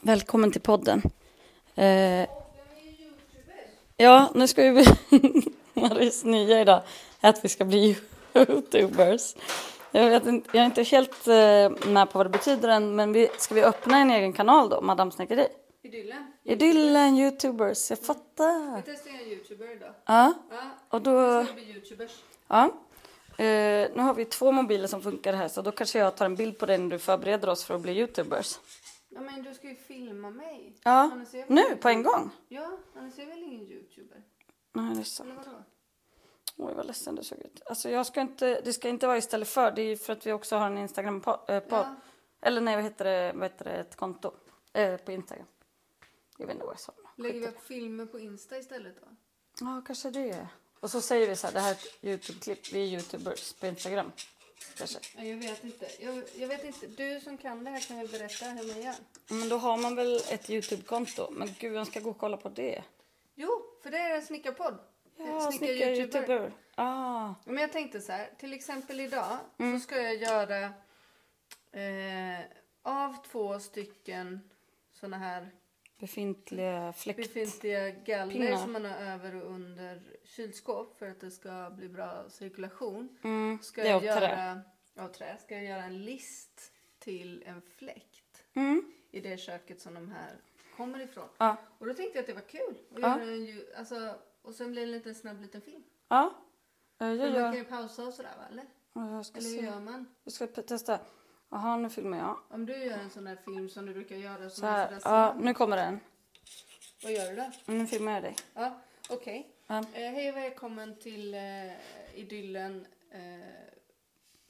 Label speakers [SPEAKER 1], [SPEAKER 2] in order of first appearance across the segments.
[SPEAKER 1] Välkommen till podden. Eh, ja, nu ska vi bli... Maries nya idag är att vi ska bli youtubers. Jag, vet inte, jag är inte helt eh, med på vad det betyder än, men vi, ska vi öppna en egen kanal då, Madame Snickeri?
[SPEAKER 2] Idyllen.
[SPEAKER 1] Idyllen youtubers, jag fattar.
[SPEAKER 2] Jag testar en youtuber idag.
[SPEAKER 1] Ja,
[SPEAKER 2] Ja,
[SPEAKER 1] och då...
[SPEAKER 2] jag ska bli youtubers.
[SPEAKER 1] Ja. Eh, nu har vi två mobiler som funkar här så då kanske jag tar en bild på dig när du förbereder oss för att bli youtubers.
[SPEAKER 2] Ja, men du ska ju filma mig.
[SPEAKER 1] Ja,
[SPEAKER 2] Annars är jag väl-
[SPEAKER 1] nu på en gång.
[SPEAKER 2] Ja, annars är jag väl ingen youtuber?
[SPEAKER 1] Nej, det är sant.
[SPEAKER 2] Eller vadå?
[SPEAKER 1] Oj, vad ledsen du såg ut. Alltså, jag ska inte, det ska inte vara istället för. Det är ju för att vi också har en Instagram-podd.
[SPEAKER 2] Ja.
[SPEAKER 1] Eller nej, vad heter det? Vad heter det? Ett konto eh, på Instagram. Jag vet inte vad jag sa.
[SPEAKER 2] Lägger vi upp filmer på Insta istället då?
[SPEAKER 1] Ja, kanske det. Och så säger vi så här, det här är ett Youtube-klipp. Vi är Youtubers på Instagram. Kanske.
[SPEAKER 2] Ja, jag vet inte. Jag, jag vet inte. Du som kan det här kan väl berätta hur man gör?
[SPEAKER 1] Men då har man väl ett Youtube-konto. Men gud, vem ska gå och kolla på det?
[SPEAKER 2] Jo, för det är en snickarpodd.
[SPEAKER 1] Ja, snickar-youtuber. Ah.
[SPEAKER 2] Men jag tänkte så här, till exempel idag
[SPEAKER 1] Mm.
[SPEAKER 2] så ska jag göra eh, av två stycken såna här
[SPEAKER 1] Befintliga fläkt...
[SPEAKER 2] befintliga galler
[SPEAKER 1] Pinnar.
[SPEAKER 2] som man har över och under kylskåp för att det ska bli bra cirkulation.
[SPEAKER 1] Mm,
[SPEAKER 2] Ska
[SPEAKER 1] det är av
[SPEAKER 2] jag
[SPEAKER 1] trä.
[SPEAKER 2] göra, av trä, ska jag göra en list till en fläkt
[SPEAKER 1] Mm.
[SPEAKER 2] i det köket som de här kommer ifrån.
[SPEAKER 1] Ja.
[SPEAKER 2] Och då tänkte jag att det var kul att
[SPEAKER 1] Ja.
[SPEAKER 2] göra en ju- alltså, och sen blir det en liten snabb liten film.
[SPEAKER 1] Ja. Eh, Jag
[SPEAKER 2] Men man
[SPEAKER 1] gör...
[SPEAKER 2] kan ju pausa och sådär va? Eller,
[SPEAKER 1] Jag ska
[SPEAKER 2] eller hur
[SPEAKER 1] se.
[SPEAKER 2] gör man?
[SPEAKER 1] Jag ska p- testa. Jaha, nu filmar jag.
[SPEAKER 2] Om du gör en sån där film som du brukar göra
[SPEAKER 1] Så
[SPEAKER 2] som är
[SPEAKER 1] här.
[SPEAKER 2] sådär
[SPEAKER 1] Ja,
[SPEAKER 2] snabb,
[SPEAKER 1] nu kommer den.
[SPEAKER 2] vad gör du då?
[SPEAKER 1] Nu filmar jag dig.
[SPEAKER 2] Ja, okej.
[SPEAKER 1] Ja.
[SPEAKER 2] Eh, hej och välkommen till eh, idyllen eh,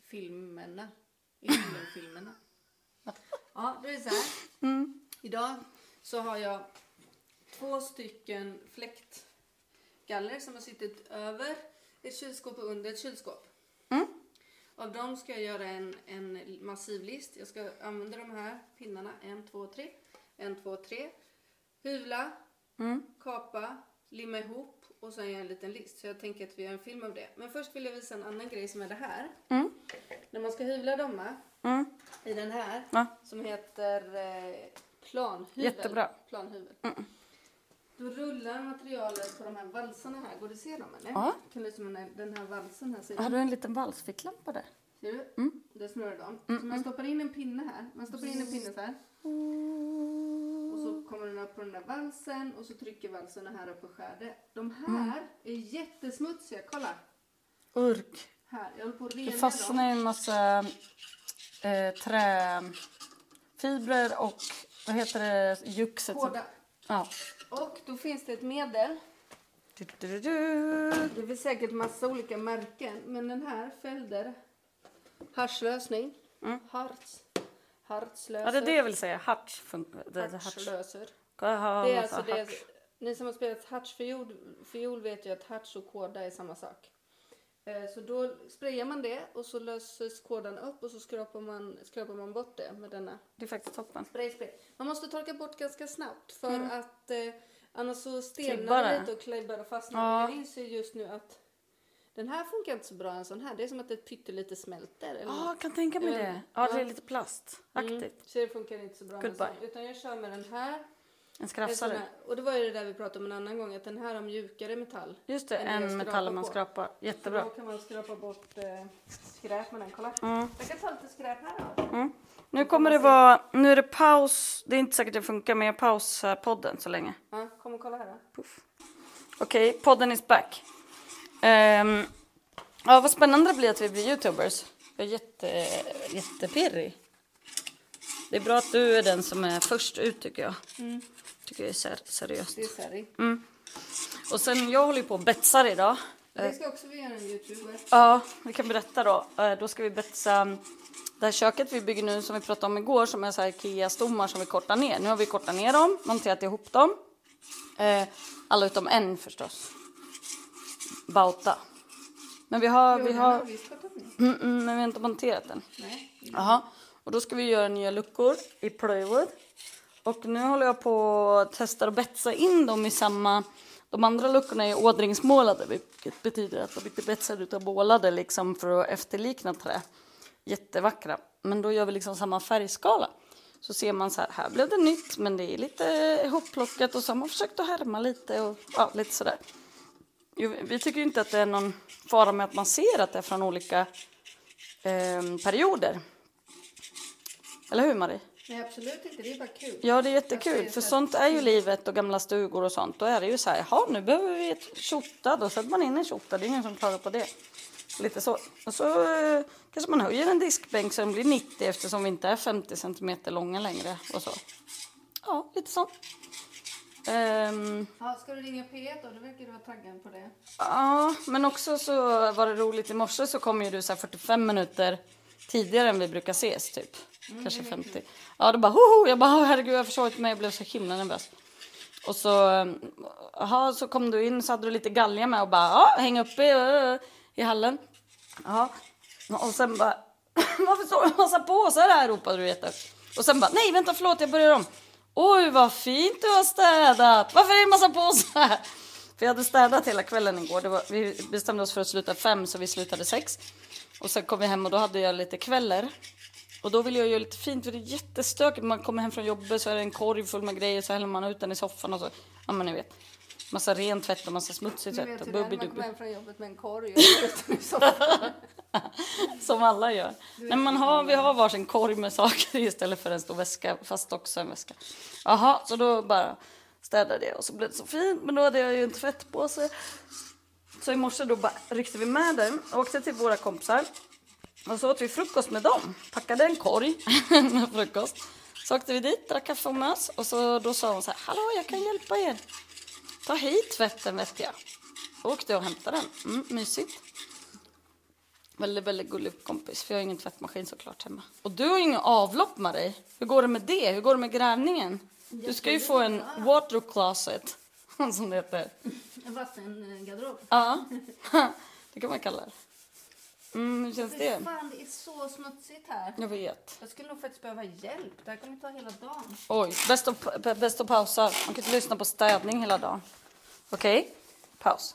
[SPEAKER 2] filmerna. Idyllen filmerna. ja, det är så här.
[SPEAKER 1] Mm,
[SPEAKER 2] Idag så har jag två stycken fläktgaller som har suttit över ett kylskåp och under ett kylskåp. Av dem ska jag göra en, en massiv list. Jag ska använda de här pinnarna. En, två, tre. En, två, tre. Hyvla,
[SPEAKER 1] mm,
[SPEAKER 2] kapa, limma ihop och sen göra en liten list. Så jag tänker att vi gör en film av det. Men först vill jag visa en annan grej som är det här. När man ska hyvla domma
[SPEAKER 1] Mm.
[SPEAKER 2] i den här
[SPEAKER 1] Ja.
[SPEAKER 2] som heter eh, planhyvel.
[SPEAKER 1] Jättebra. Mm.
[SPEAKER 2] planhyvel. Då rullar materialet på de här valsarna här. Går det att se dem eller?
[SPEAKER 1] Ja.
[SPEAKER 2] Kan du se om den här- den här valsen här? Ser
[SPEAKER 1] Har du en liten valsficklampa där?
[SPEAKER 2] Ser du?
[SPEAKER 1] Mm.
[SPEAKER 2] Där snurrar de. så man stoppar in en pinne här. Man stoppar in en pinne så här. Och så kommer den upp på den där valsen och så trycker valsen här upp och skär det.
[SPEAKER 1] Mm.
[SPEAKER 2] De här är jättesmutsiga. Kolla!
[SPEAKER 1] Urk.
[SPEAKER 2] Här, jag håller på att
[SPEAKER 1] Det
[SPEAKER 2] rena
[SPEAKER 1] fastnar
[SPEAKER 2] dem.
[SPEAKER 1] ju en massa eh, träfibrer och vad heter det? Juxet. som-
[SPEAKER 2] Hårda.
[SPEAKER 1] Ja.
[SPEAKER 2] Och då finns det ett medel.
[SPEAKER 1] Du, du, du, du.
[SPEAKER 2] Det finns säkert massa olika märken. Men den här, Felder. Harslösning. Mm. Harts. Hartslöser.
[SPEAKER 1] Ja, det är det jag vill säga. Harts. fun- det- det- Harts.
[SPEAKER 2] Hartslöser.
[SPEAKER 1] Ja,
[SPEAKER 2] Det är
[SPEAKER 1] massa
[SPEAKER 2] alltså det,
[SPEAKER 1] harts.
[SPEAKER 2] ni som har spelat harts fiol, fiol vet ju att harts och kåda är samma sak. Eh, Så då sprayar man det och så löses kådan upp och så skrapar man, skrapar man bort det med denna
[SPEAKER 1] Det är faktiskt toppen.
[SPEAKER 2] spray, spray. Man måste torka bort ganska snabbt för att eh, annars så
[SPEAKER 1] Mm. Klibbar
[SPEAKER 2] stelnar
[SPEAKER 1] det.
[SPEAKER 2] det lite och klibbar och fastnar. Jag inser just nu att den här funkar inte så bra en sån här. Det är som att det pyttelite smälter. Eller något.
[SPEAKER 1] Ja, jag kan tänka mig
[SPEAKER 2] Jag vet
[SPEAKER 1] det.
[SPEAKER 2] inte.
[SPEAKER 1] Ja, det
[SPEAKER 2] Ja.
[SPEAKER 1] är lite plastaktigt.
[SPEAKER 2] Så det funkar inte så bra med en
[SPEAKER 1] Goodbye.
[SPEAKER 2] sån. Utan jag kör med den här.
[SPEAKER 1] En
[SPEAKER 2] En sån
[SPEAKER 1] skrafsare.
[SPEAKER 2] här- Och det var ju det där vi pratade om en annan gång, att den här har mjukare metall.
[SPEAKER 1] Just det,
[SPEAKER 2] Än det jag
[SPEAKER 1] en
[SPEAKER 2] skrapar
[SPEAKER 1] metall man
[SPEAKER 2] på.
[SPEAKER 1] skrapar.
[SPEAKER 2] Så
[SPEAKER 1] Jättebra.
[SPEAKER 2] Då kan man skrapa bort eh, skräp med den, kolla. Jag kan ta lite skräp här då.
[SPEAKER 1] Mm. Nu kommer det vara, nu är det paus. Det är inte säkert det funkar men jag pausar podden så länge.
[SPEAKER 2] Ja, kom och kolla här då.
[SPEAKER 1] Puff. Okej, podden is back. Ehm, ja, vad spännande det blir att vi blir youtubers. Jag är jätte, jättepirrig. Det är bra att du är den som är först ut tycker jag. Tycker jag är ser- seriöst.
[SPEAKER 2] Det är Sari.
[SPEAKER 1] Eh. Och sen, jag håller ju på och betsar idag.
[SPEAKER 2] Det ska också vi göra en youtuber.
[SPEAKER 1] Ja, vi kan berätta då. Eh, Då ska vi betsa mm, det här köket vi bygger nu som vi pratade om igår som är så här Ikea-stommar som vi kortar ner. Nu har vi kortat ner dem, monterat ihop dem. Eh, Alla utom en förstås. Bauta. Men vi har,
[SPEAKER 2] Jo,
[SPEAKER 1] vi
[SPEAKER 2] den
[SPEAKER 1] har,
[SPEAKER 2] vi skottat ner.
[SPEAKER 1] mm, mm, men vi har inte monterat den.
[SPEAKER 2] Nej.
[SPEAKER 1] Jaha. Och då ska vi göra nya luckor i plywood. Och nu håller jag på och testar att betsa in dem i samma... De andra luckorna är ådringsmålade, vilket betyder att de inte betsade utan målade liksom för att efterlikna trä. Jättevackra. Men då gör vi liksom samma färgskala. Så ser man så här, här blev det nytt men det är lite ihopplockat och så har man försökt att härma lite och ja, lite sådär. Jo, Vi tycker ju inte att det är någon fara med att man ser att det är från olika ehm, perioder. Eller hur Marie?
[SPEAKER 2] Nej, absolut inte. Det är bara kul.
[SPEAKER 1] Ja, det är
[SPEAKER 2] Att
[SPEAKER 1] jättekul.
[SPEAKER 2] det är
[SPEAKER 1] För
[SPEAKER 2] så här-
[SPEAKER 1] sånt är ju livet och gamla stugor och sånt. Då är det ju så här, jaha, nu behöver vi ett tjota. Då sätter man in en tjota. Det är ingen som klagar på det. Lite så. Och så eh, kanske man höjer en diskbänk så den blir 90 eftersom vi inte är 50 centimeter långa längre och så. Ja, lite så. Ehm,
[SPEAKER 2] Ja, ska du ringa P1 då? Du verkar du vara taggad på det.
[SPEAKER 1] Ja, men också så var det roligt i morse så kom ju du så här 45 minuter tidigare än vi brukar ses typ. Kanske 50. Ja, då bara hoho! Jag bara "Åh, herregud jag har försovit mig, jag blev så himla nervös. Och så, ehm, aha, så kom du in så hade du lite galja med och bara ja, häng upp i, ö, i hallen. Ja, och sen bara varför står det en massa påsar här ropade du jättehögt. Och sen bara nej vänta förlåt jag börjar om. Oj vad fint du har städat, varför är det en massa påsar? För jag hade städat hela kvällen igår, det var, vi bestämde oss för att sluta fem så vi slutade sex. Och sen kom vi hem och då hade jag lite kvällar. Och då ville jag göra lite fint för det är jättestökigt. Man kommer hem från jobbet så är det en korg full med grejer så häller man ut den i soffan och så. Ja men ni vet. Massa ren tvätt och massa
[SPEAKER 2] Du
[SPEAKER 1] smutsig tvätt
[SPEAKER 2] vet
[SPEAKER 1] och
[SPEAKER 2] hur det är när man
[SPEAKER 1] bubbidubbi.
[SPEAKER 2] kommer hem från jobbet med en korg och sitter i soffan.
[SPEAKER 1] Som alla gör. Men man har, vi har varsin korg med saker istället för en stor väska, fast också en väska. Jaha, så då bara städade jag och så blev det så fint, men då hade jag ju en tvättpåse. Så i morse då bara ryckte vi med den och åkte till våra kompisar. Och så åt vi frukost med dem, packade en korg med frukost. Så åkte vi dit, drack kaffe och mös och så, då sa hon så här, hallå jag kan hjälpa er. Ta hit tvätten vet jag. Då åkte jag och hämtade den, mm, mysigt. Väldigt, väldigt gullig kompis, för jag har ingen tvättmaskin såklart hemma. Och du har ju ingen avlopp med dig. Hur går det med det? Hur går det med grävningen? Du ska ju få en water closet, som det heter.
[SPEAKER 2] En vattengarderob.
[SPEAKER 1] Ja, det kan man kalla det. Mm, hur känns
[SPEAKER 2] Fy
[SPEAKER 1] det?
[SPEAKER 2] fan, det är så smutsigt här.
[SPEAKER 1] Jag vet.
[SPEAKER 2] Jag skulle nog faktiskt behöva hjälp. Det här kommer ta hela dagen.
[SPEAKER 1] Oj, bäst att, pa- bäst att pausa. Man kan inte lyssna på städning hela dagen. Okej, paus.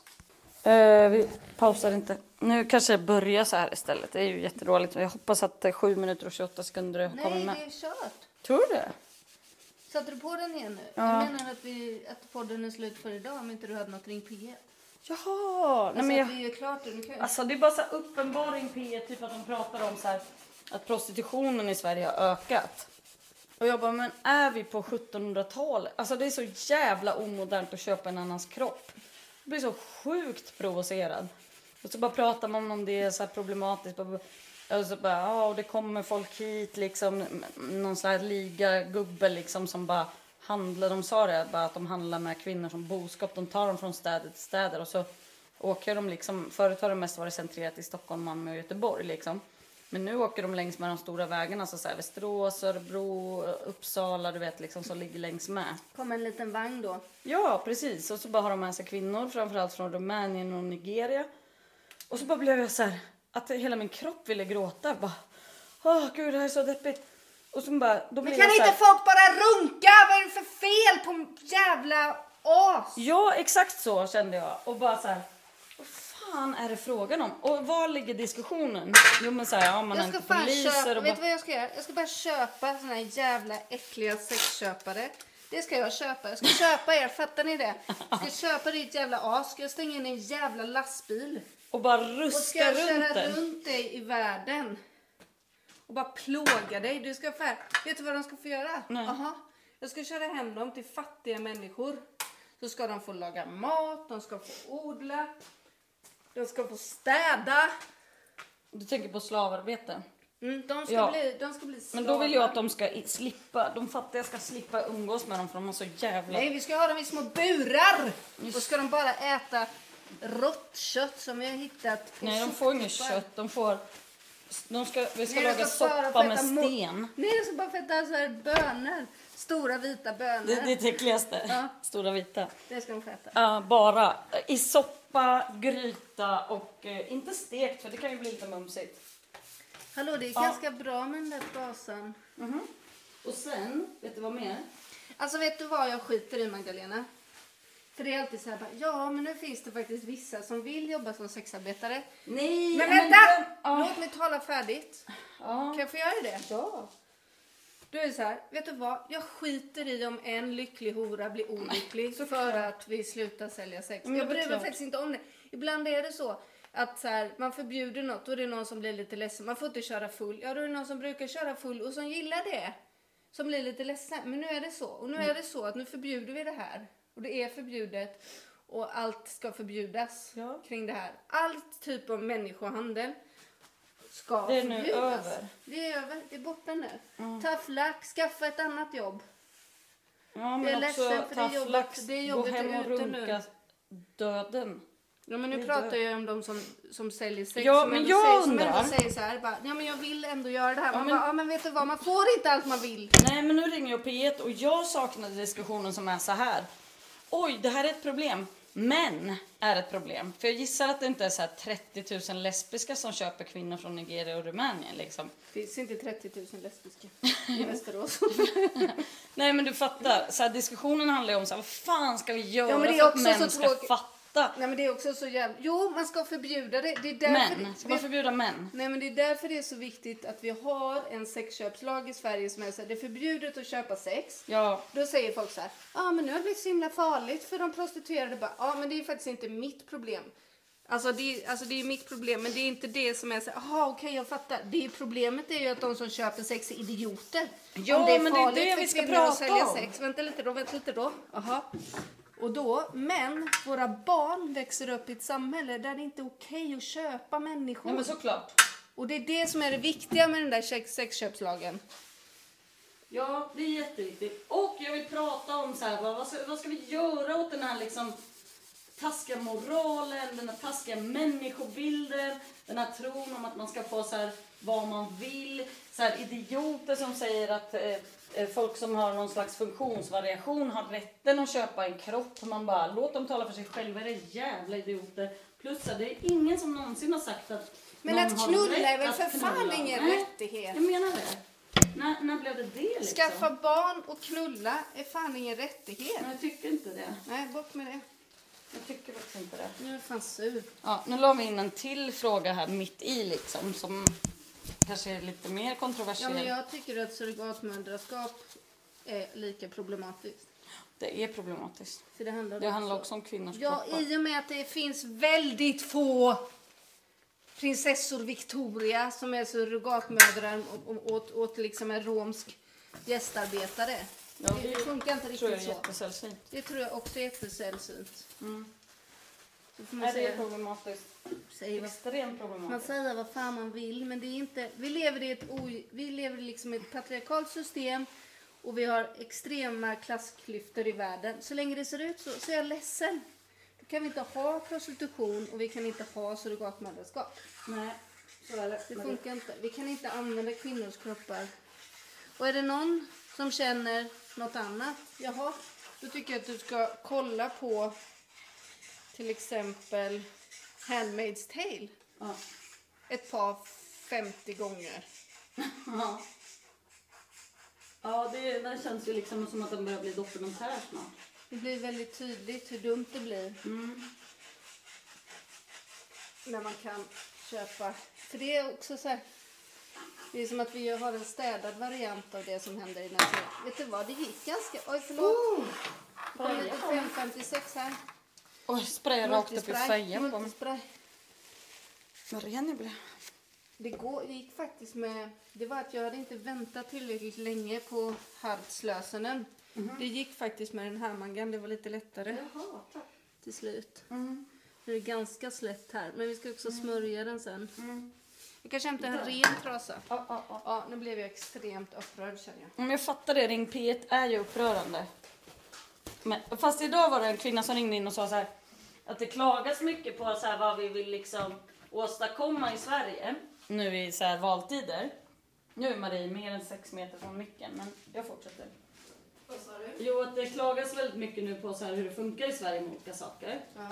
[SPEAKER 1] Eh, vi pausar inte. Nu kanske jag börjar så här istället. Det är ju jättedåligt. Jag hoppas att eh, 7 minuter och 28 sekunder kommer
[SPEAKER 2] Nej,
[SPEAKER 1] med.
[SPEAKER 2] det är kört.
[SPEAKER 1] Tror du det?
[SPEAKER 2] Satte du på den igen nu?
[SPEAKER 1] Ja.
[SPEAKER 2] Jag menar att, vi, att podden är slut för idag om inte du hade något ring P1.
[SPEAKER 1] Jaha! Nej,
[SPEAKER 2] Alltså
[SPEAKER 1] men jag...
[SPEAKER 2] att det är klart nu. Nu kan
[SPEAKER 1] Alltså det är bara så här uppenbaring P1, typ att de pratar om så här, att prostitutionen i Sverige har ökat. Och jag bara, men är vi på 1700-talet? Alltså det är så jävla omodernt att köpa en annans kropp. Jag blir så sjukt provocerad. Och så bara pratar man om det så här problematiskt. bara- Och så bara, ja och det kommer folk hit liksom, någon sån här ligagubbe liksom som bara handlar, de sa det, bara att de handlar med kvinnor som boskap. De tar dem från städer till städer och så åker de liksom, förut har det mest varit centrerat i Stockholm, Malmö och Göteborg liksom. Men nu åker de längs med de stora vägarna, så så här Västerås, Örebro, Uppsala, du vet liksom som ligger längs med.
[SPEAKER 2] kom en liten vagn då.
[SPEAKER 1] Ja, precis. Och så bara har de med sig kvinnor, framförallt från Rumänien och Nigeria. Och så bara blev jag så här, att hela min kropp ville gråta. Bara, åh gud det här är så deppigt. Och så bara, då
[SPEAKER 2] Men
[SPEAKER 1] blev
[SPEAKER 2] kan
[SPEAKER 1] jag så här,
[SPEAKER 2] inte folk bara runka? Vad är det för fel på jävla as?
[SPEAKER 1] Ja, exakt så kände jag. Och bara så här, vad fan är det frågan om? Och var ligger diskussionen? Jo men så här, ja man är
[SPEAKER 2] Jag ska
[SPEAKER 1] inte
[SPEAKER 2] fan
[SPEAKER 1] poliser
[SPEAKER 2] köpa,
[SPEAKER 1] och
[SPEAKER 2] vet
[SPEAKER 1] bara,
[SPEAKER 2] du vad jag ska göra? Jag ska bara köpa såna här jävla äckliga sexköpare. Det ska jag köpa. Jag ska köpa er, fattar ni det? Jag ska köpa ditt jävla as. Ska jag stänga in en jävla lastbil?
[SPEAKER 1] och bara
[SPEAKER 2] Och ska
[SPEAKER 1] ruska
[SPEAKER 2] jag
[SPEAKER 1] runt
[SPEAKER 2] köra
[SPEAKER 1] den.
[SPEAKER 2] runt dig i världen. Och bara plåga dig. Du ska få, vet du vad de ska få göra?
[SPEAKER 1] Nej.
[SPEAKER 2] Aha. Jag ska köra hem dem till fattiga människor. Så ska de få laga mat, de ska få odla. De ska få städa.
[SPEAKER 1] Du tänker på slavarbete.
[SPEAKER 2] Mm, de, ska
[SPEAKER 1] Ja.
[SPEAKER 2] bli, de ska bli slavar.
[SPEAKER 1] Men då vill jag att de ska i- slippa, de fattiga ska slippa umgås med dem för de har så jävla...
[SPEAKER 2] Nej, vi ska ha dem i små burar!
[SPEAKER 1] Just.
[SPEAKER 2] Och ska de bara äta rått kött som vi har hittat på
[SPEAKER 1] Nej, de får inget
[SPEAKER 2] soptippar.
[SPEAKER 1] kött, de får... De ska, vi ska
[SPEAKER 2] Nej, de
[SPEAKER 1] laga
[SPEAKER 2] ska bara
[SPEAKER 1] soppa
[SPEAKER 2] få
[SPEAKER 1] med
[SPEAKER 2] äta mo-
[SPEAKER 1] sten.
[SPEAKER 2] Nej, de ska bara få äta så här bönor. Stora vita bönor.
[SPEAKER 1] Det, det är det äckligaste.
[SPEAKER 2] Ja.
[SPEAKER 1] Stora vita.
[SPEAKER 2] Det ska de få äta.
[SPEAKER 1] Ja, bara i soppa, gryta och eh, inte stekt för det kan ju bli lite mumsigt.
[SPEAKER 2] Hallå, det är ganska bra med den där brasan.
[SPEAKER 1] Och sen, vet du vad mer?
[SPEAKER 2] Alltså vet du vad jag skiter i Magdalena? För det är alltid så här bara, ja men nu finns det faktiskt vissa som vill jobba som sexarbetare.
[SPEAKER 1] Nej,
[SPEAKER 2] Men vänta!
[SPEAKER 1] Ja.
[SPEAKER 2] Låt mig tala färdigt.
[SPEAKER 1] Ja.
[SPEAKER 2] Kan jag få göra det?
[SPEAKER 1] Ja.
[SPEAKER 2] Då är det så här, vet du vad? Jag skiter i om en lycklig hora blir olycklig för att vi slutar sälja sex.
[SPEAKER 1] Men
[SPEAKER 2] jag bryr mig
[SPEAKER 1] såklart.
[SPEAKER 2] faktiskt inte om det. Ibland är det så att så här, man förbjuder något och det är någon som blir lite ledsen. Man får inte köra full. Ja, då är det någon som brukar köra full och som gillar det. Som blir lite ledsen. Men nu är det så. Och nu är det så att nu förbjuder vi det här. Och det är förbjudet. Och allt ska förbjudas
[SPEAKER 1] Ja.
[SPEAKER 2] kring det här. All typ av människohandel ska
[SPEAKER 1] Det är nu
[SPEAKER 2] förbjudas.
[SPEAKER 1] över.
[SPEAKER 2] Det är över. Det är borta nu. Tough luck. Skaffa ett annat jobb.
[SPEAKER 1] Ja,
[SPEAKER 2] Jag
[SPEAKER 1] men
[SPEAKER 2] är ledsen
[SPEAKER 1] också
[SPEAKER 2] för det är
[SPEAKER 1] tough
[SPEAKER 2] jobbigt-
[SPEAKER 1] lax,
[SPEAKER 2] det är
[SPEAKER 1] gå
[SPEAKER 2] jobbigt
[SPEAKER 1] hem och
[SPEAKER 2] ute nu.
[SPEAKER 1] runka döden.
[SPEAKER 2] Ja, men
[SPEAKER 1] Det
[SPEAKER 2] nu
[SPEAKER 1] är
[SPEAKER 2] pratar
[SPEAKER 1] det.
[SPEAKER 2] jag ju om de som, som säljer sex.
[SPEAKER 1] Ja,
[SPEAKER 2] som
[SPEAKER 1] men
[SPEAKER 2] ändå
[SPEAKER 1] jag
[SPEAKER 2] säger, Som
[SPEAKER 1] undrar.
[SPEAKER 2] ändå säger så här, bara, ja men jag vill ändå göra det här.
[SPEAKER 1] Ja,
[SPEAKER 2] Man
[SPEAKER 1] men-
[SPEAKER 2] bara, ja men vet du vad, man får inte allt man vill.
[SPEAKER 1] Nej, men nu ringer jag P1 och jag saknade diskussionen som är så här. Oj, det här är ett problem. Men är ett problem. För jag gissar att det inte är så här 30 000 lesbiska som köper kvinnor från Nigeria och Rumänien liksom.
[SPEAKER 2] Det finns inte 30 000 lesbiska i Västerås.
[SPEAKER 1] Nej, men du fattar. Så här, diskussionen handlar ju om så här, vad fan ska vi göra
[SPEAKER 2] Ja, men det är
[SPEAKER 1] för att
[SPEAKER 2] också
[SPEAKER 1] män
[SPEAKER 2] så
[SPEAKER 1] ska
[SPEAKER 2] tråkigt.
[SPEAKER 1] fatta?
[SPEAKER 2] Nej men det är också så jävla... Jo, man ska förbjuda det. Det är därför...
[SPEAKER 1] Män. Ska
[SPEAKER 2] det...
[SPEAKER 1] man förbjuda män?
[SPEAKER 2] Nej men det är därför det är så viktigt att vi har en sexköpslag i Sverige som är så här, det är förbjudet att köpa sex.
[SPEAKER 1] Ja.
[SPEAKER 2] Då säger folk så här, ja ah, men nu har det blivit så himla farligt för de prostituerade. Ja ah, men det är faktiskt inte mitt problem. Alltså det, är- alltså det är mitt problem men det är inte det som är så här, jaha okej jag fattar. Det är problemet är ju att de som köper sex är idioter.
[SPEAKER 1] Ja, men det är
[SPEAKER 2] farligt
[SPEAKER 1] det
[SPEAKER 2] för
[SPEAKER 1] vi ska
[SPEAKER 2] kvinnor att
[SPEAKER 1] prata
[SPEAKER 2] sälja
[SPEAKER 1] om.
[SPEAKER 2] Sex. Vänta lite då, vänta lite då. Aha. Och då, men våra barn växer upp i ett samhälle där det inte är okej att köpa människor.
[SPEAKER 1] Nej, men såklart.
[SPEAKER 2] Och det är det som är det viktiga med den där sex- sexköpslagen.
[SPEAKER 1] Ja, det är jätteviktigt. Och jag vill prata om så här, vad, vad, ska, vad ska vi göra åt den här liksom taskiga moralen, den här taskiga människobilden, den här tron om att man ska få så här, vad man vill. Så här, idioter som säger att eh, eh, folk som har någon slags funktionsvariation har rätten att köpa en kropp. Man bara, låt dem tala för sig själva, era jävla idioter. Plus så här, det är ingen som någonsin har sagt att
[SPEAKER 2] Men
[SPEAKER 1] någon
[SPEAKER 2] att
[SPEAKER 1] har
[SPEAKER 2] knulla
[SPEAKER 1] rätt
[SPEAKER 2] är väl
[SPEAKER 1] att
[SPEAKER 2] för fan
[SPEAKER 1] knulla.
[SPEAKER 2] ingen
[SPEAKER 1] Nej,
[SPEAKER 2] rättighet?
[SPEAKER 1] Jag menar det. När, när blev det det liksom?
[SPEAKER 2] Skaffa barn och knulla är fan ingen rättighet.
[SPEAKER 1] Men jag tycker inte det.
[SPEAKER 2] Nej, bort med det.
[SPEAKER 1] Jag tycker faktiskt inte det.
[SPEAKER 2] Nu är jag fan sur.
[SPEAKER 1] Ja, nu la vi in en till fråga här mitt i liksom som kanske är lite mer
[SPEAKER 2] Ja,
[SPEAKER 1] kontroversiell.
[SPEAKER 2] men jag tycker att surrogatmödraskap är lika problematiskt.
[SPEAKER 1] Det är problematiskt.
[SPEAKER 2] För det handlar,
[SPEAKER 1] Det handlar också om kvinnors
[SPEAKER 2] Ja,
[SPEAKER 1] kroppar.
[SPEAKER 2] i och med att det finns väldigt få prinsessor Victoria som är surrogatmödrar och- och- åt, åt liksom en romsk gästarbetare.
[SPEAKER 1] Ja,
[SPEAKER 2] det,
[SPEAKER 1] det
[SPEAKER 2] funkar inte
[SPEAKER 1] tror jag
[SPEAKER 2] riktigt
[SPEAKER 1] är
[SPEAKER 2] så.
[SPEAKER 1] jättesällsynt.
[SPEAKER 2] Det tror jag också är jättesällsynt.
[SPEAKER 1] Mm.
[SPEAKER 2] Så får man
[SPEAKER 1] Nej, det är
[SPEAKER 2] säga,
[SPEAKER 1] problematiskt.
[SPEAKER 2] säga vad
[SPEAKER 1] Extremt
[SPEAKER 2] Man
[SPEAKER 1] problematiskt.
[SPEAKER 2] säger vad fan man vill, men det är inte... Vi lever i ett, o, vi lever i liksom ett patriarkalt system och vi har extrema klassklyftor i världen. Så länge det ser ut så, så är jag ledsen. Då kan vi inte ha prostitution och vi kan inte ha surrogatmödraskap.
[SPEAKER 1] Nej, så är det.
[SPEAKER 2] Det funkar inte. Vi kan inte använda kvinnors kroppar. Och är det någon som känner något annat, jaha, då tycker jag att du ska kolla på till exempel Handmaid's Tale
[SPEAKER 1] Ja.
[SPEAKER 2] ett par 50 gånger.
[SPEAKER 1] Ja. Ja, det, det känns ju liksom som att den börjar bli dokumentär snart.
[SPEAKER 2] Det blir väldigt tydligt hur dumt det blir
[SPEAKER 1] Mm.
[SPEAKER 2] när man kan köpa. För det är också så här. Det är som att vi har en städad variant av det som händer i naturen. Vet du vad, det gick ganska... Oj, förlåt. Kom
[SPEAKER 1] Spraya
[SPEAKER 2] lite
[SPEAKER 1] på mig.
[SPEAKER 2] 556 här.
[SPEAKER 1] Oj, sprayar rakt upp i
[SPEAKER 2] Multispray.
[SPEAKER 1] fejan på mig.
[SPEAKER 2] Multispray.
[SPEAKER 1] Vad ren jag blev.
[SPEAKER 2] Det, går, det gick faktiskt med... Det var att jag hade inte väntat tillräckligt länge på Hartslösenen. Det gick faktiskt med den här mangan. Det var lite lättare
[SPEAKER 1] Jaha, tack.
[SPEAKER 2] till slut.
[SPEAKER 1] Mm.
[SPEAKER 2] Nu är det ganska slätt här, men vi ska också smörja den sen.
[SPEAKER 1] Mm.
[SPEAKER 2] Jag kanske hämtar en ren trasa.
[SPEAKER 1] Ja, ja, ja.
[SPEAKER 2] Ja, nu blev jag extremt upprörd känner jag.
[SPEAKER 1] Om jag fattar det, Ring P1 är ju upprörande. Men, fast idag var det en kvinna som ringde in och sa så här, att det klagas mycket på så här, vad vi vill liksom åstadkomma i Sverige nu i så här valtider. Nu är Marie mer än sex meter från micken, men jag fortsätter.
[SPEAKER 2] Vad sa du?
[SPEAKER 1] Jo, att det klagas väldigt mycket nu på så här, hur det funkar i Sverige med olika saker.
[SPEAKER 2] Ja.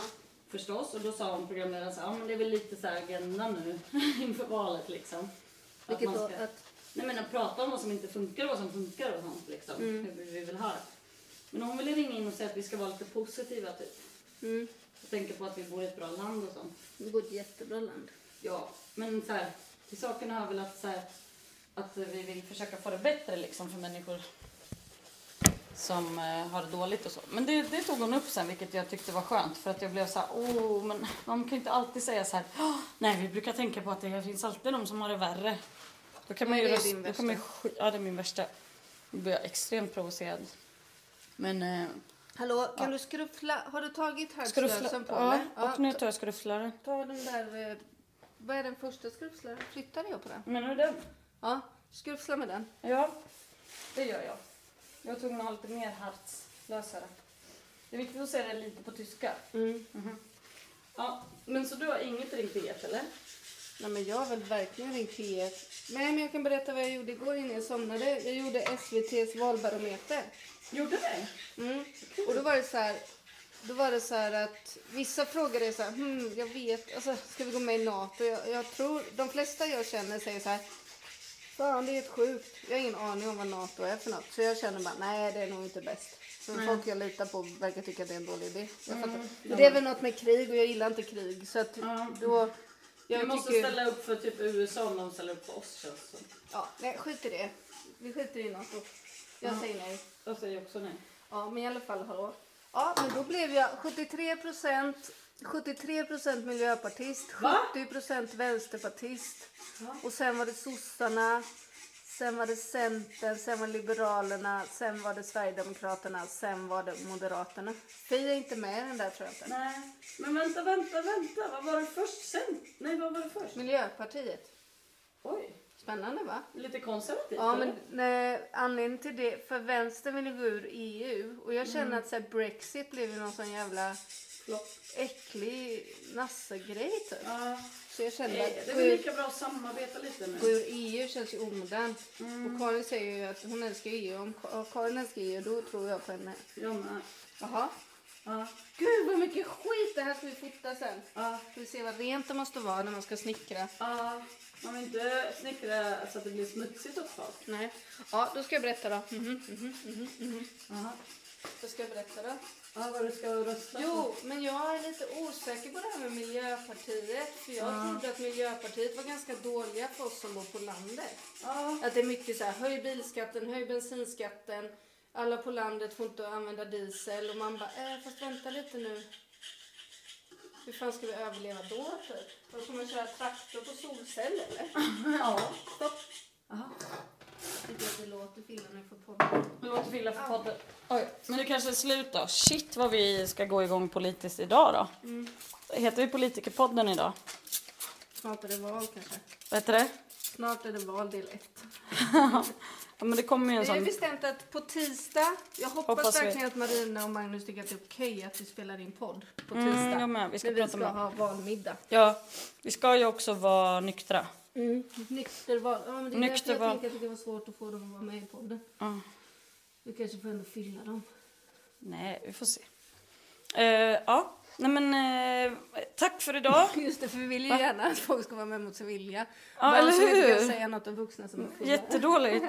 [SPEAKER 1] Förstås, och då sa hon programledaren så här, ja men det är väl lite så här agenda nu inför valet liksom. Att
[SPEAKER 2] Vilket
[SPEAKER 1] man
[SPEAKER 2] då
[SPEAKER 1] ska-
[SPEAKER 2] att...
[SPEAKER 1] Nej men att prata om vad som inte funkar och vad som funkar och sånt liksom. Hur vi vill ha det. Men hon ville ringa in och säga att vi ska vara lite positiva typ.
[SPEAKER 2] Mm,
[SPEAKER 1] Och tänka på att vi bor i ett bra land och sånt.
[SPEAKER 2] det går ett jättebra land.
[SPEAKER 1] Ja, men så här, till saken hör väl att så här, att vi vill försöka få det bättre liksom för människor som eh, har det dåligt och så. Men det, det tog hon upp sen vilket jag tyckte var skönt för att jag blev så här, oh, men man kan ju inte alltid säga så här, "Åh, nej vi brukar tänka på att det finns alltid de som har det värre. Då kan man
[SPEAKER 2] Ja,
[SPEAKER 1] ju
[SPEAKER 2] det är
[SPEAKER 1] rösta,
[SPEAKER 2] din
[SPEAKER 1] då kan man ju, sk- ja det är min värsta. Då blir jag extremt provocerad. Men eh,
[SPEAKER 2] Hallå, kan du skruffla? Har du tagit
[SPEAKER 1] skruffla,
[SPEAKER 2] högslösen på
[SPEAKER 1] ja,
[SPEAKER 2] mig?
[SPEAKER 1] och nu tar jag skrufflaren.
[SPEAKER 2] Ta den där... eh, Vad är den första skruffslaren? Flyttade jag på den?
[SPEAKER 1] Menar du den?
[SPEAKER 2] Ja, skrufsla med den.
[SPEAKER 1] Ja, det gör jag. Jag tog nog lite mer hartslösare. Det är viktigt att säga det lite på tyska.
[SPEAKER 2] Mm.
[SPEAKER 1] Ja, men så du har inget ringt P1 eller?
[SPEAKER 2] Nej men jag har väl verkligen ringt P1. Nej men jag kan berätta vad jag gjorde igår innan jag somnade. Jag gjorde SVTs valbarometer.
[SPEAKER 1] Gjorde det?
[SPEAKER 2] Mm. Och då var det så här. Då var det så här att vissa frågor är så här, hmm, jag vet, alltså, ska vi gå med i NATO? Jag, jag tror, de flesta jag känner säger så här, fan det är helt sjukt, jag har ingen aning om vad NATO är för något. Så jag känner bara, nej det är nog inte bäst. Men
[SPEAKER 1] Mm.
[SPEAKER 2] folk jag litar på verkar tycka att det är en dålig idé. Jag fattar. Men Det är väl något med krig och jag gillar inte krig. Så att då, jag
[SPEAKER 1] vi måste
[SPEAKER 2] tycker-
[SPEAKER 1] ställa upp för typ USA om de ställer upp för oss känns det som.
[SPEAKER 2] Ja, nej, skit i det. Vi skiter i NATO. Jag säger nej.
[SPEAKER 1] Jag säger också nej.
[SPEAKER 2] Ja, men i alla fall hallå. Ja, men då blev jag 73 procent 73 procent miljöpartist,
[SPEAKER 1] Va?
[SPEAKER 2] 70 procent vänsterpartist. Och sen var det sossarna, sen var det centern, sen var det liberalerna, sen var det sverigedemokraterna, sen var det moderaterna. Vi är inte med i den där tror jag inte.
[SPEAKER 1] Nej, men vänta, vänta, vänta. Vad var det först sen? Nej, vad var det först?
[SPEAKER 2] Miljöpartiet.
[SPEAKER 1] Oj,
[SPEAKER 2] Spännande va?
[SPEAKER 1] lite konservativt
[SPEAKER 2] Ja,
[SPEAKER 1] eller?
[SPEAKER 2] men nej, anledningen till det, för vänstern vill ju gå ur EU och jag känner att så här, Brexit blev ju någon sån jävla
[SPEAKER 1] Förlåt.
[SPEAKER 2] äcklig nassegrej typ.
[SPEAKER 1] Ja,
[SPEAKER 2] Så jag känner
[SPEAKER 1] nej,
[SPEAKER 2] att
[SPEAKER 1] det
[SPEAKER 2] gå
[SPEAKER 1] är väl
[SPEAKER 2] ur,
[SPEAKER 1] lika bra att samarbeta lite
[SPEAKER 2] gå
[SPEAKER 1] nu. Mm.
[SPEAKER 2] ur EU känns ju omodernt. Och Karin säger ju att hon älskar EU. Om Ka- om Karin älskar EU, då tror jag på henne.
[SPEAKER 1] Ja, men,
[SPEAKER 2] Jaha.
[SPEAKER 1] ja,
[SPEAKER 2] Gud vad mycket skit! Det här ska vi fota sen.
[SPEAKER 1] ja.
[SPEAKER 2] Ska vi se vad rent det måste vara när man ska snickra.
[SPEAKER 1] Ja, man vill inte snickra så att det blir smutsigt åt folk.
[SPEAKER 2] Nej. Ja, då ska jag berätta då. Mhm.
[SPEAKER 1] Jaha.
[SPEAKER 2] Då ska jag berätta då.
[SPEAKER 1] Ja, vad du ska rösta på.
[SPEAKER 2] Jo, men jag är lite osäker på det här med Miljöpartiet. För jag trodde att Miljöpartiet var ganska dåliga för oss som bor på landet.
[SPEAKER 1] Ja.
[SPEAKER 2] Att det är mycket så här, höj bilskatten, höj bensinskatten. Alla på landet får inte använda diesel. Och man bara, eh, fast vänta lite nu. Hur fan ska vi överleva då typ? Då kommer jag köra traktor på solceller eller?
[SPEAKER 1] ja.
[SPEAKER 2] Stopp.
[SPEAKER 1] Jaha.
[SPEAKER 2] Tycker att det låter filla nu för podden.
[SPEAKER 1] Vi låter Villa få podden. Ah. Oj, men det kanske är slut då. Shit vad vi ska gå igång politiskt idag då. Heter vi Politikerpodden idag?
[SPEAKER 2] Snart är det val kanske.
[SPEAKER 1] Vad heter det?
[SPEAKER 2] Snart är det val del ett.
[SPEAKER 1] Ja, men det kommer ju en
[SPEAKER 2] Vi har ju
[SPEAKER 1] sån...
[SPEAKER 2] bestämt att på tisdag, jag hoppas,
[SPEAKER 1] Hoppas vi-
[SPEAKER 2] verkligen att Marina och Magnus tycker att det är okej att vi spelar in podd på tisdag.
[SPEAKER 1] Mm, jag med. Vi ska
[SPEAKER 2] när vi
[SPEAKER 1] prata
[SPEAKER 2] ska
[SPEAKER 1] med...
[SPEAKER 2] ha valmiddag.
[SPEAKER 1] Ja, vi ska ju också vara nyktra.
[SPEAKER 2] Mm. Nykterval. Ja, men det är
[SPEAKER 1] Nykterval.
[SPEAKER 2] därför jag tänker att det kan vara svårt att få dem att vara med i podden.
[SPEAKER 1] Ja.
[SPEAKER 2] Du kanske får ändå fylla dem.
[SPEAKER 1] Nej, vi får se. Eh, ja, nej men eh, tack för idag.
[SPEAKER 2] Just det, för vi vill ju gärna att folk ska vara med mot sin vilja.
[SPEAKER 1] Ja,
[SPEAKER 2] Barn
[SPEAKER 1] eller
[SPEAKER 2] som inte
[SPEAKER 1] hur?
[SPEAKER 2] kan säga något om vuxna som är fulla.
[SPEAKER 1] Jättedåligt.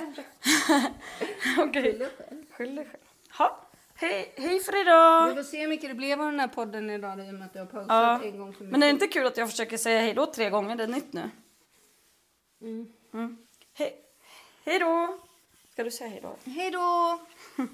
[SPEAKER 1] Okej.
[SPEAKER 2] Fyller själv.
[SPEAKER 1] Skyll dig själv. Ha. Hej, hej för
[SPEAKER 2] Vi
[SPEAKER 1] idag!
[SPEAKER 2] får se hur mycket det blev av den här podden idag i och med att jag har pausat
[SPEAKER 1] Ja.
[SPEAKER 2] en gång för mycket.
[SPEAKER 1] Men det är inte kul att jag försöker säga hej då tre gånger, det är nytt nu.
[SPEAKER 2] Mm.
[SPEAKER 1] Mm. Hej. hej då! Ska du säga hej då?
[SPEAKER 2] Hej då!